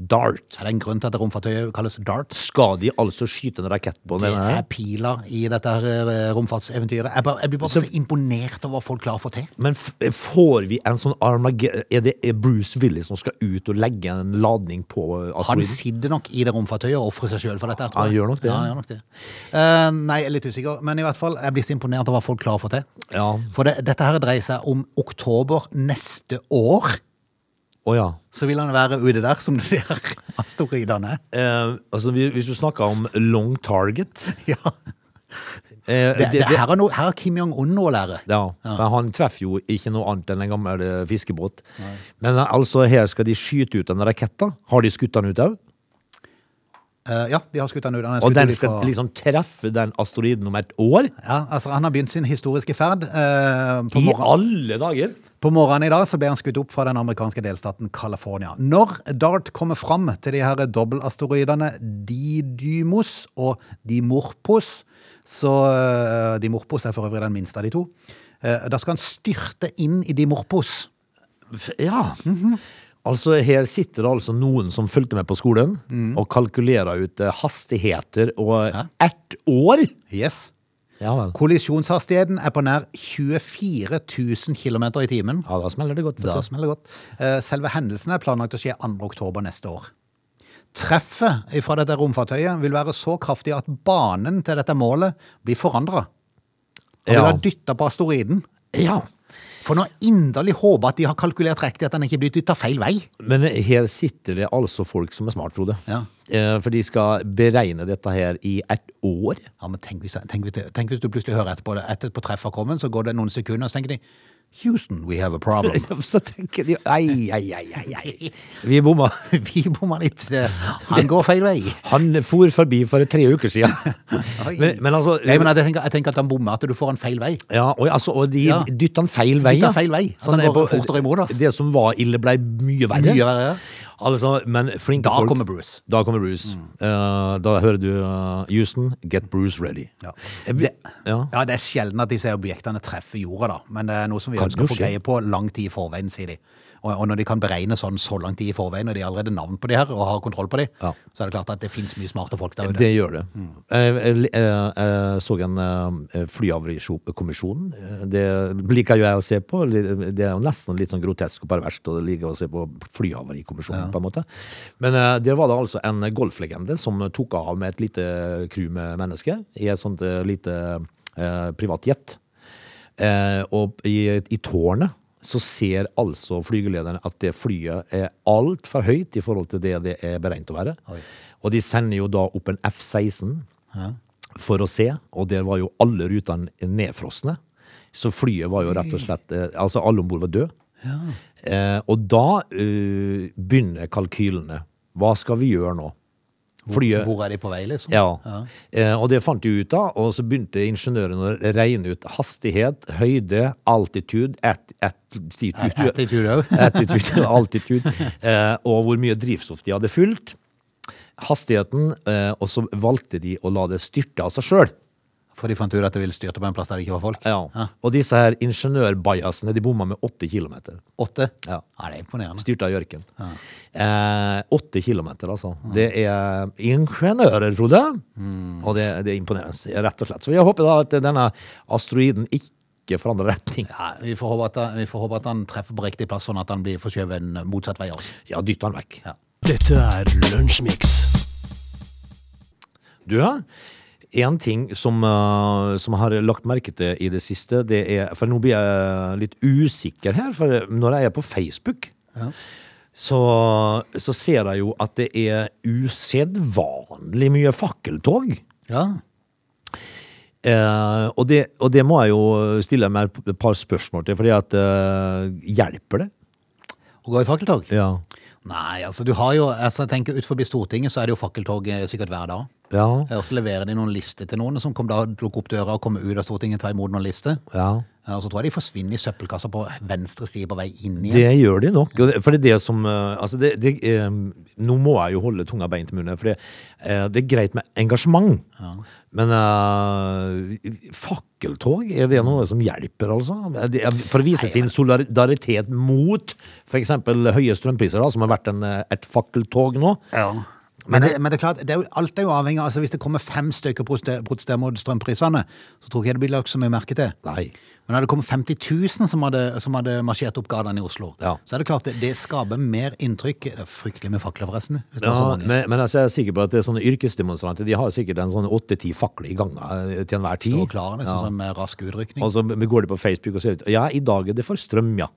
Speaker 3: Dart.
Speaker 1: Er det en grunn til at romfartøyet kalles darts?
Speaker 3: Skal de altså skyte en rakett på
Speaker 1: Det
Speaker 3: den?
Speaker 1: er piler i dette her eh, romfartseventyret. Jeg, bare, jeg blir bare så, imponert over hva folk klarer å få til.
Speaker 3: Men f får vi en sånn Armageddon Er det er Bruce Willis som skal ut og legge en ladning på eh,
Speaker 1: Han
Speaker 3: asteroiden?
Speaker 1: sitter nok i det romfartøyet og ofrer seg sjøl for dette. her, tror
Speaker 3: Han
Speaker 1: jeg.
Speaker 3: gjør nok det.
Speaker 1: Ja, han gjør nok det. Eh, nei, jeg er litt usikker, men i hvert fall, jeg blir så imponert over hva folk klarer å få til.
Speaker 3: Ja.
Speaker 1: For det, dette her dreier seg om oktober neste år.
Speaker 3: Å ja.
Speaker 1: Så vil han være ute der som (laughs) de der asteroidene.
Speaker 3: Eh, altså, vi- hvis du snakker om long target
Speaker 1: Ja.
Speaker 3: eh,
Speaker 1: Det, det, her, er no, her har Kim Jong-un noe å lære.
Speaker 3: Ja, for han treffer jo ikke noe annet enn en gammel eh, fiskebåt. Men eh, altså, her skal de skyte ut en rakett, da. Har de skutt den ut òg?
Speaker 1: Eh, ja, de har skutt han ut. Han er
Speaker 3: Og
Speaker 1: skutt
Speaker 3: den
Speaker 1: ut
Speaker 3: skal
Speaker 1: ifra-
Speaker 3: liksom treffe den asteroiden om et år?
Speaker 1: ja, altså, han har begynt sin historiske ferd. eh, på,
Speaker 3: I
Speaker 1: morgenen,
Speaker 3: alle dager!
Speaker 1: på morgenen i dag så ble han skutt opp fra den amerikanske delstaten California. Når DART kommer fram til de her dobbeltasteroidene Didymos og Dimorpos så eh, Dimorpos er for øvrig den minste av de to. eh, da skal han styrte inn i Dimorpos.
Speaker 3: F- Ja. Altså, her sitter det altså noen som fulgte med på skolen, og kalkulerer ut eh, hastigheter og
Speaker 1: Ja.
Speaker 3: ett år!
Speaker 1: Yes.
Speaker 3: Ja vel.
Speaker 1: Kollisjonshastigheten er på nær 24 000 km i timen.
Speaker 3: Ja, da smeller det godt. vet
Speaker 1: Da
Speaker 3: du.
Speaker 1: smeller det godt. Eh, Selve hendelsen er planlagt å skje 2. oktober neste år. Treffet fra dette romfartøyet vil være så kraftig at banen til dette målet blir forandra. Og vil
Speaker 3: Ja.
Speaker 1: ha dytta på asteroiden.
Speaker 3: ja.
Speaker 1: For nå inderlig håpe at de har kalkulert riktig, at den ikke blir dytta feil vei.
Speaker 3: Men her sitter det altså folk som er smart, Frode.
Speaker 1: Ja.
Speaker 3: Eh, For de skal beregne dette her i ett (laughs) år.
Speaker 1: Ja, men tenk hvis, tenk, hvis, tenk hvis du plutselig hører etterpå det. Etter på treffet har kommet, så går det noen sekunder, og så tenker de Houston, we have a problem. (laughs)
Speaker 3: (laughs) Så tenker de Ei, ei, ei, ei, ei. Vi bomma.
Speaker 1: Vi bomma litt. Han går feil vei.
Speaker 3: Han for forbi for tre uker siden. (laughs)
Speaker 1: Oi.
Speaker 3: Men, men altså
Speaker 1: Nei, men jeg, tenker, jeg tenker at han bommer, at du får han feil vei.
Speaker 3: ja, og, altså, og de
Speaker 1: Ja.
Speaker 3: dytter han feil vei.
Speaker 1: Dytter han feil vei. At han
Speaker 3: det er
Speaker 1: går fortere imot oss.
Speaker 3: Det som var ille, ble mye verre.
Speaker 1: Mye verre, ja.
Speaker 3: Altså, men flinke
Speaker 1: Da
Speaker 3: folk
Speaker 1: kommer Bruce. Mm.
Speaker 3: Da kommer Bruce. Eh, da hører du eh, Houston, get Bruce ready.
Speaker 1: Ja.
Speaker 3: Jeg be-
Speaker 1: Det,
Speaker 3: ja.
Speaker 1: ja, det er sjelden at disse objektene treffer jorda, da. Men det er noe som vi
Speaker 3: Kan
Speaker 1: ønsker å
Speaker 3: jo
Speaker 1: få
Speaker 3: skje.
Speaker 1: greie på lang tid i forveien, sier de. Og, og når de kan beregne sånn så lang tid i forveien, og de har allerede navn på de her, og har kontroll på de,
Speaker 3: Ja.
Speaker 1: så er det klart at det finnes mye smarte folk der ute.
Speaker 3: Det gjør det. Eh, Jeg, jeg, jeg, jeg så en eh, flyavarikommisjon. Eh, Det liker jo jeg å se på. Det er jo nesten litt sånn grotesk og perverst å like å se på flyhavarikommisjonen, på en måte. Men eh, der var det altså en golflegende som tok av med et lite crew med mennesker i et sånt eh, lite eh, privat jet. Eh, og i, i tårnet så ser altså flygelederen at det flyet er altfor høyt i forhold til det det er beregnet å være.
Speaker 1: Oi.
Speaker 3: Og de sender jo da opp en F-16 for å se, og der var jo alle rutene nedfrosne. Så flyet var jo rett og slett eh, Altså, alle om bord var døde. Eh, og da eh, begynner kalkylene. Hva skal vi gjøre nå? Flyet
Speaker 1: Hvor er de på vei, liksom?
Speaker 3: ja. Eh, og det fant de ut av, og så begynte ingeniørene å regne ut hastighet, høyde, altitude, at, attitude,
Speaker 1: Attitude også.
Speaker 3: (laughs)
Speaker 1: (laughs)
Speaker 3: attitude, altitude eh, og hvor mye drivstoff de hadde fylt, hastigheten, eh, og så valgte de å la det styrte av seg sjøl.
Speaker 1: For de fant ut at de ville styrte på en plass der det ikke var folk?
Speaker 3: Ja. Og disse her ingeniørbajasene, de bomma med åtte kilometer.
Speaker 1: Åtte?
Speaker 3: Ja.
Speaker 1: det er imponerende.
Speaker 3: Styrt av Jørken. Eh, åtte kilometer, altså. Det er ingeniører, Frode.
Speaker 1: Mm.
Speaker 3: Og det, det er imponerende, rett og slett. Så jeg håper da at denne asteroiden ikke forandrer retning.
Speaker 1: Ja, vi, får håpe at han, vi får håpe at han treffer på riktig plass, sånn at han blir forskjøvet en motsatt vei også.
Speaker 3: Ja, dytt den vekk.
Speaker 1: Ja.
Speaker 4: Dette er Lunsjmix.
Speaker 3: Du, ja. En ting som, eh, som jeg har lagt merke til i det siste, det er For nå blir jeg litt usikker her, for når jeg er på Facebook, så, så ser jeg jo at det er usedvanlig mye fakkeltog.
Speaker 1: Ja.
Speaker 3: Eh, og, det, og det må jeg jo stille meg et par spørsmål til, fordi at eh, Hjelper det?
Speaker 1: Og gå i fakkeltog?
Speaker 3: Ja.
Speaker 1: Nei, altså du har jo, altså jeg tenker ut forbi Stortinget så er det jo fakkeltog eh, sikkert hver dag.
Speaker 3: Ja.
Speaker 1: Eh, Og så leverer de noen lister til noen som kommer da lukker opp døra og kommer ut av Stortinget og tar imot noen lister.
Speaker 3: ja.
Speaker 1: Eh, Og så tror jeg de forsvinner i søppelkassa på venstre side på vei inn igjen.
Speaker 3: Det gjør de nok. og det- For det er det som eh, Altså, det, det, eh, nå må jeg jo holde tunga beint i munnen, for det, eh, det er greit med engasjement. Men eh, fakkeltog, er det noe som hjelper, altså? Er det- er- For å vise sin solidaritet mot f.eks. høye strømpriser, da, som har vært en, eh, et fakkeltog nå.
Speaker 1: Men det, men det er klart, det er jo, alt er jo avhengig av altså Hvis det kommer fem stykker protester- protesterer mot strømprisene, så tror jeg ikke det blir lagt så mye merke til.
Speaker 3: Nei.
Speaker 1: Men hadde det kommet 50 000 som hadde, som hadde marsjert opp gatene i Oslo,
Speaker 3: Ja.
Speaker 1: så er det klart det, det skaper mer inntrykk. Det er fryktelig med fakler, forresten. Hvis det er så
Speaker 3: Ja,
Speaker 1: mange.
Speaker 3: men, men altså, jeg er sikker på at det er sånne yrkesdemonstranter De har sikkert en sånn åtte-ti fakler i ganga eh, til enhver tid.
Speaker 1: Og klarer liksom sånn med rask utrykning.
Speaker 3: Og så går de på Facebook og ser ut Ja, i dag er det for strøm, ja.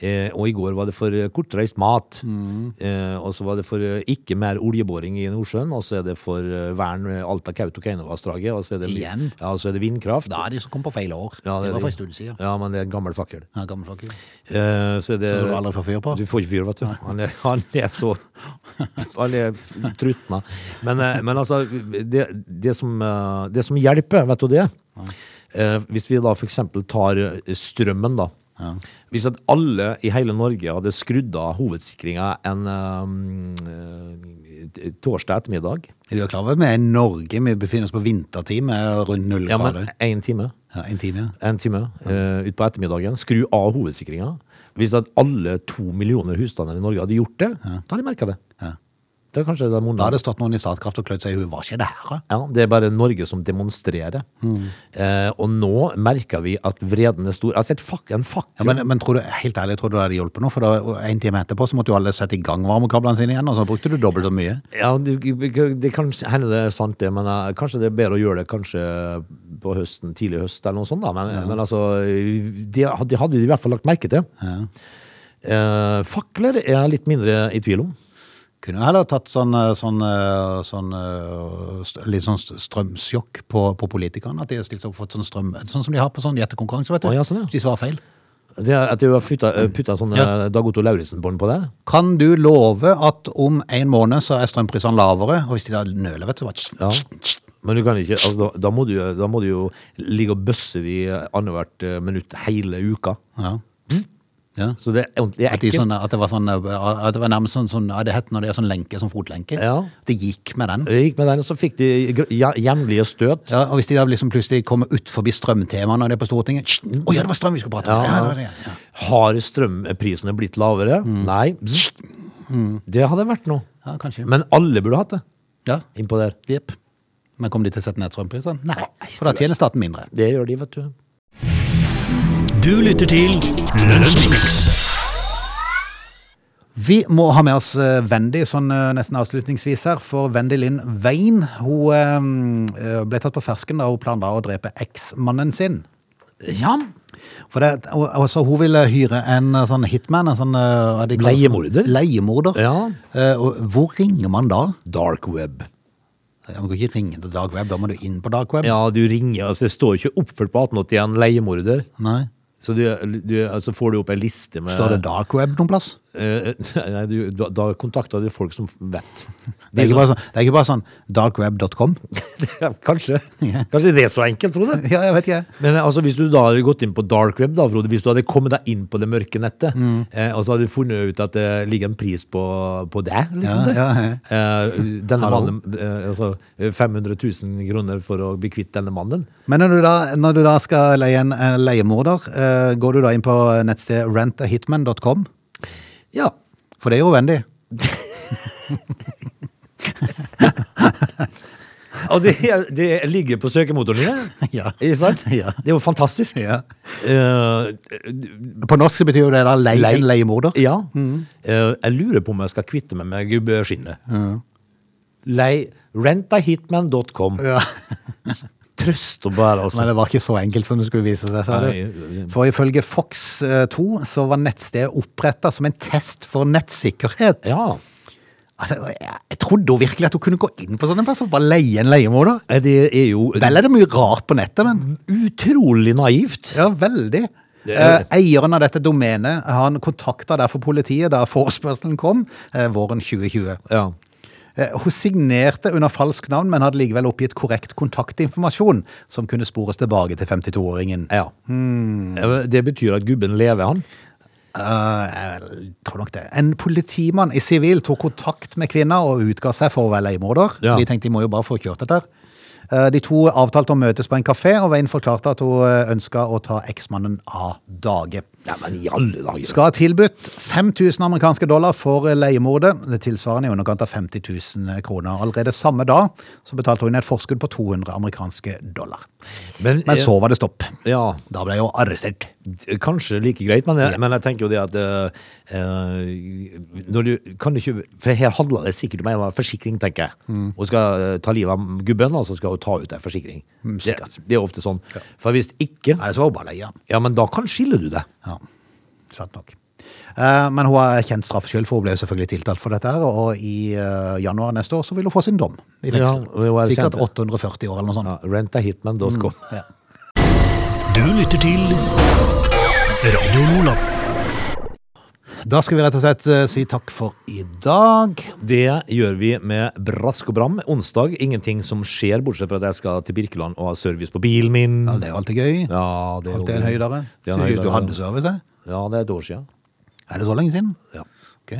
Speaker 3: Eh, og i går var det for eh, kortreist mat.
Speaker 1: Mm.
Speaker 3: Eh, og så var det for eh, ikke mer oljeboring i Nordsjøen. Og så er det for eh, vern eh, Alta Kautokeino-vassdraget. Og så er det, vi-
Speaker 1: Igjen?
Speaker 3: Ja, og så er det vindkraft.
Speaker 1: Da er de som kom på feil år.
Speaker 3: Ja,
Speaker 1: det,
Speaker 3: er
Speaker 1: var for
Speaker 3: de.
Speaker 1: en stund siden.
Speaker 3: Ja, men det er en gammel fakkel.
Speaker 1: Ja, gammel fakkel.
Speaker 3: Eh, så er det,
Speaker 1: Sånn som du aldri får fyr på?
Speaker 3: Du får ikke fyr, vet du. Han er, han er så Han er trutna. Men, eh, men altså, det, det, som, eh, det som hjelper, vet du det? Eh, hvis vi da f.eks. tar eh, strømmen, da. Hvis at alle i hele Norge hadde skrudd av hovedsikringa en eh, eh, torsdag ettermiddag
Speaker 1: Er du klar over at vi er i Norge, vi befinner oss på vintertid med rundt null
Speaker 3: Ja,
Speaker 1: grader?
Speaker 3: men én time.
Speaker 1: Ja, en time, ja.
Speaker 3: en time eh, ut på ettermiddagen, skru av hovedsikringa. Hvis at alle to millioner husstander i Norge hadde gjort det, da hadde de merka det.
Speaker 1: Ja.
Speaker 3: Det er kanskje det er
Speaker 1: Da
Speaker 3: måneden.
Speaker 1: hadde det stått noen i Statkraft og klødd seg i huet. Hva skjedde her, da?
Speaker 3: Ja, det er bare Norge som demonstrerer.
Speaker 1: Mm.
Speaker 3: Eh, og nå merker vi at vreden er stor. Jeg har sett fak en
Speaker 1: Ja,
Speaker 3: fakkel.
Speaker 1: men, men tror du, helt ærlig, tror du det hadde hjulpet nå? For da, en time etterpå så måtte jo alle sette i gang varmekablene sine igjen, og så brukte du dobbelt så mye.
Speaker 3: Ja, det, det kan hende det er sant det, men eh, kanskje det er bedre å gjøre det kanskje på høsten, tidlig høst eller noe sånt da, men, men altså, det, had- det hadde de i hvert fall lagt merke til. Eh, fakler er jeg litt mindre i tvil om.
Speaker 1: Kunne jo heller tatt sånn, eh, sånn, eh, sånn eh, st- litt sånn st- strømsjokk på, på politikerne, at de har stilt seg opp for et sånn strøm, sånn som de har på sånn gjettekonkurranse, vet du.
Speaker 3: Å, ja, sånn, ja.
Speaker 1: Hvis De svarer feil.
Speaker 3: Det er at du har flytta, putta sånn
Speaker 1: Ja.
Speaker 3: eh, Dag Otto Lauritzen-bånd på deg?
Speaker 1: Kan du love at om en måned så er strømprisene lavere, og hvis de da nøler, vet du, så bare
Speaker 3: Ja. Men du kan ikke, altså, da, da, må du, jo- da må du jo ligge og bøsse de annethvert eh, minutt hele uka.
Speaker 1: Ja. ja.
Speaker 3: Så det er ordentlig
Speaker 1: At, de
Speaker 3: ekkelt.
Speaker 1: sånn, at, det var sånn, eh, at det var nærmest sånn, sånn ja, det het når det er sånn lenke, sånn fotlenke.
Speaker 3: Ja.
Speaker 1: Det gikk med den.
Speaker 3: Jeg gikk med den, og så fikk de gr- ja- jevnlige støt.
Speaker 1: Ja, og hvis de da liksom plutselig kommer ut forbi strømtemaet når det er på Stortinget «Sst, Å ja, det var strøm vi skulle prate om! Ja, det var det. Ja.
Speaker 3: Har strømprisene blitt lavere?
Speaker 1: Mm.
Speaker 3: Nei. Bzz. Det hadde vært noe.
Speaker 1: ja, kanskje.
Speaker 3: Men alle burde hatt det
Speaker 1: Ja,
Speaker 3: innpå der.
Speaker 1: jepp. Men kommer de til å sette ned strømprisene? Nei,
Speaker 3: Nei,
Speaker 1: for da tjener staten mindre.
Speaker 3: Det gjør de, vet du.
Speaker 4: Du lytter til Lunsjmix.
Speaker 1: Vi må ha med oss eh, Wendy sånn eh, nesten avslutningsvis her, for Wendy Linn Wein hun eh, ble tatt på fersken da hun planla å drepe eksmannen sin.
Speaker 3: Ja.
Speaker 1: For det, og- altså, hun ville hyre en eh, sånn hitman, en sånn eh, hva de kaller det?
Speaker 3: Leiemorder?
Speaker 1: Leiemorder.
Speaker 3: Ja.
Speaker 1: Eh, og hvor ringer man da?
Speaker 3: Dark web.
Speaker 1: Man kan ikke ringe til Dark Web, da må du inn på Dark Web.
Speaker 3: Ja, du ringer, altså det står jo ikke oppført på 1881 leiemorder.
Speaker 1: Nei.
Speaker 3: Så du, du, altså får du opp en liste med
Speaker 1: Står det dark web noen plass?
Speaker 3: Eh, (laughs) nei, du, da, da kontakter du folk som vet.
Speaker 1: Det er ikke bare sånn, det er ikke bare sånn darkweb.com?
Speaker 3: Kanskje. (laughs) Kanskje det er så enkelt, Frode.
Speaker 1: (laughs) Ja, jeg vet ikke.
Speaker 3: Men eh, altså, hvis du da hadde gått inn på dark web, da, Frode, hvis du hadde kommet deg inn på det mørke nettet,
Speaker 1: Mm.
Speaker 3: eh, og så hadde du funnet ut at det ligger en pris på, på deg, liksom det.
Speaker 1: Ja, ja, ja.
Speaker 3: Eh, denne
Speaker 1: Hallo?
Speaker 3: mannen, eh, altså eh, 500 000 kroner for å bli kvitt denne mannen.
Speaker 1: Men når du da, når du da skal leie en eh, leiemorder, eh, går du da inn på nettstedet rentahitman.com?
Speaker 3: Ja.
Speaker 1: For det er jo Wendy.
Speaker 3: (laughs) Og det, det ligger på søkemotoren din,
Speaker 1: (laughs) Ja.
Speaker 3: ikke sant?
Speaker 1: Ja.
Speaker 3: Det er jo fantastisk.
Speaker 1: Ja.
Speaker 3: Eh,
Speaker 1: På norsk så betyr jo det da leie
Speaker 3: Lei-
Speaker 1: en leiemorder.
Speaker 3: (laughs) Ja. Eh, jeg lurer på om jeg skal kvitte meg med gubbeskinnet. Lei rentahitman.com.
Speaker 1: Ja.
Speaker 3: Trøst og bære,
Speaker 1: Men
Speaker 3: altså.
Speaker 1: det var ikke så enkelt som det skulle vise seg. sa du.
Speaker 3: Nei.
Speaker 1: For ifølge Fox eh, 2 så var nettstedet oppretta som en test for nettsikkerhet.
Speaker 3: Ja.
Speaker 1: Altså, jeg, jeg trodde jo virkelig at hun kunne gå inn på sånne plasser og bare leie en leiemorder.
Speaker 3: Eh, Det er jo
Speaker 1: Vel er det mye rart på nettet, men
Speaker 3: utrolig naivt.
Speaker 1: Ja, veldig.
Speaker 3: Det er det.
Speaker 1: Eh, eieren av dette domenet han kontakta derfor politiet da forespørselen kom eh, våren 2020.
Speaker 3: Ja.
Speaker 1: Eh, hun signerte under falsk navn, men hadde likevel oppgitt korrekt kontaktinformasjon som kunne spores tilbake til 52-åringen.
Speaker 3: ja. Eh, Det betyr at gubben lever, han.
Speaker 1: Eh, jeg tror nok det. En politimann i sivil tok kontakt med kvinna og utga seg for å være leiemorder.
Speaker 3: Ja.
Speaker 1: De tenkte de må jo bare få kjørt dette. her. Eh, De to avtalte å møtes på en kafé, og Wayne forklarte at hun eh, ønska å ta eksmannen av dage.
Speaker 3: Nei, men i alle dager.
Speaker 1: Skal ha tilbudt 5000 amerikanske dollar for leiemordet, det tilsvarende i underkant av 50 000 kroner. Allerede samme dag så betalte hun et forskudd på 200 amerikanske dollar.
Speaker 3: Men, eh,
Speaker 1: Men så var det stopp.
Speaker 3: Ja,
Speaker 1: Da ble hun arrestert.
Speaker 3: d- kanskje like greit, men jeg, men jeg tenker jo det at eh, eh, når du, kan du ikke, For her handler det sikkert om en eller annen forsikring, tenker jeg.
Speaker 1: Mm.
Speaker 3: Hun skal eh, ta livet av gubben, og så skal hun ta ut en forsikring. det,
Speaker 1: Mm, sikkert.
Speaker 3: det er ofte sånn. For hvis ikke,
Speaker 1: Nei, så var hun bare leia.
Speaker 3: ja, men da kan skille du det.
Speaker 1: Ja, sant nok. Eh, Men hun har kjent straff selv, for hun ble jo selvfølgelig tiltalt for dette. her, Og i eh, januar neste år så vil hun få sin dom i
Speaker 3: Ja,
Speaker 1: fengsel.
Speaker 3: hun er
Speaker 1: Sikkert
Speaker 3: kjent.
Speaker 1: 840 år eller noe sånt.
Speaker 3: Ja, Rentahitman.com.
Speaker 1: Ja.
Speaker 4: Du lytter til Radio Nordland.
Speaker 1: Da skal vi rett og slett eh, si takk for i dag.
Speaker 3: Det gjør vi med brask og bram. Onsdag, ingenting som skjer, bortsett fra at jeg skal til Birkeland og ha service på bilen min.
Speaker 1: Ja, det er jo alltid gøy.
Speaker 3: Ja, det er jo
Speaker 1: Alltid en høydere.
Speaker 3: Det er en
Speaker 1: Synes ikke
Speaker 3: høydere.
Speaker 1: du hadde service? jeg?
Speaker 3: Ja, det er et år siden.
Speaker 1: Er det så lenge siden?
Speaker 3: Ja.
Speaker 1: Ok.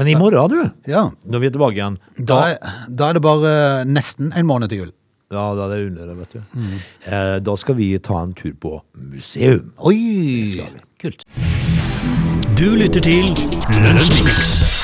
Speaker 3: Men i morgen, du,
Speaker 1: Ja.
Speaker 3: når vi er tilbake igjen,
Speaker 1: Da, da er det bare eh, nesten en måned til jul.
Speaker 3: ja, da er det under det, vet du. Eh, da skal vi ta en tur på museum.
Speaker 1: Oi!
Speaker 3: skal vi.
Speaker 1: Kult.
Speaker 4: Du lytter til Lunsjmix.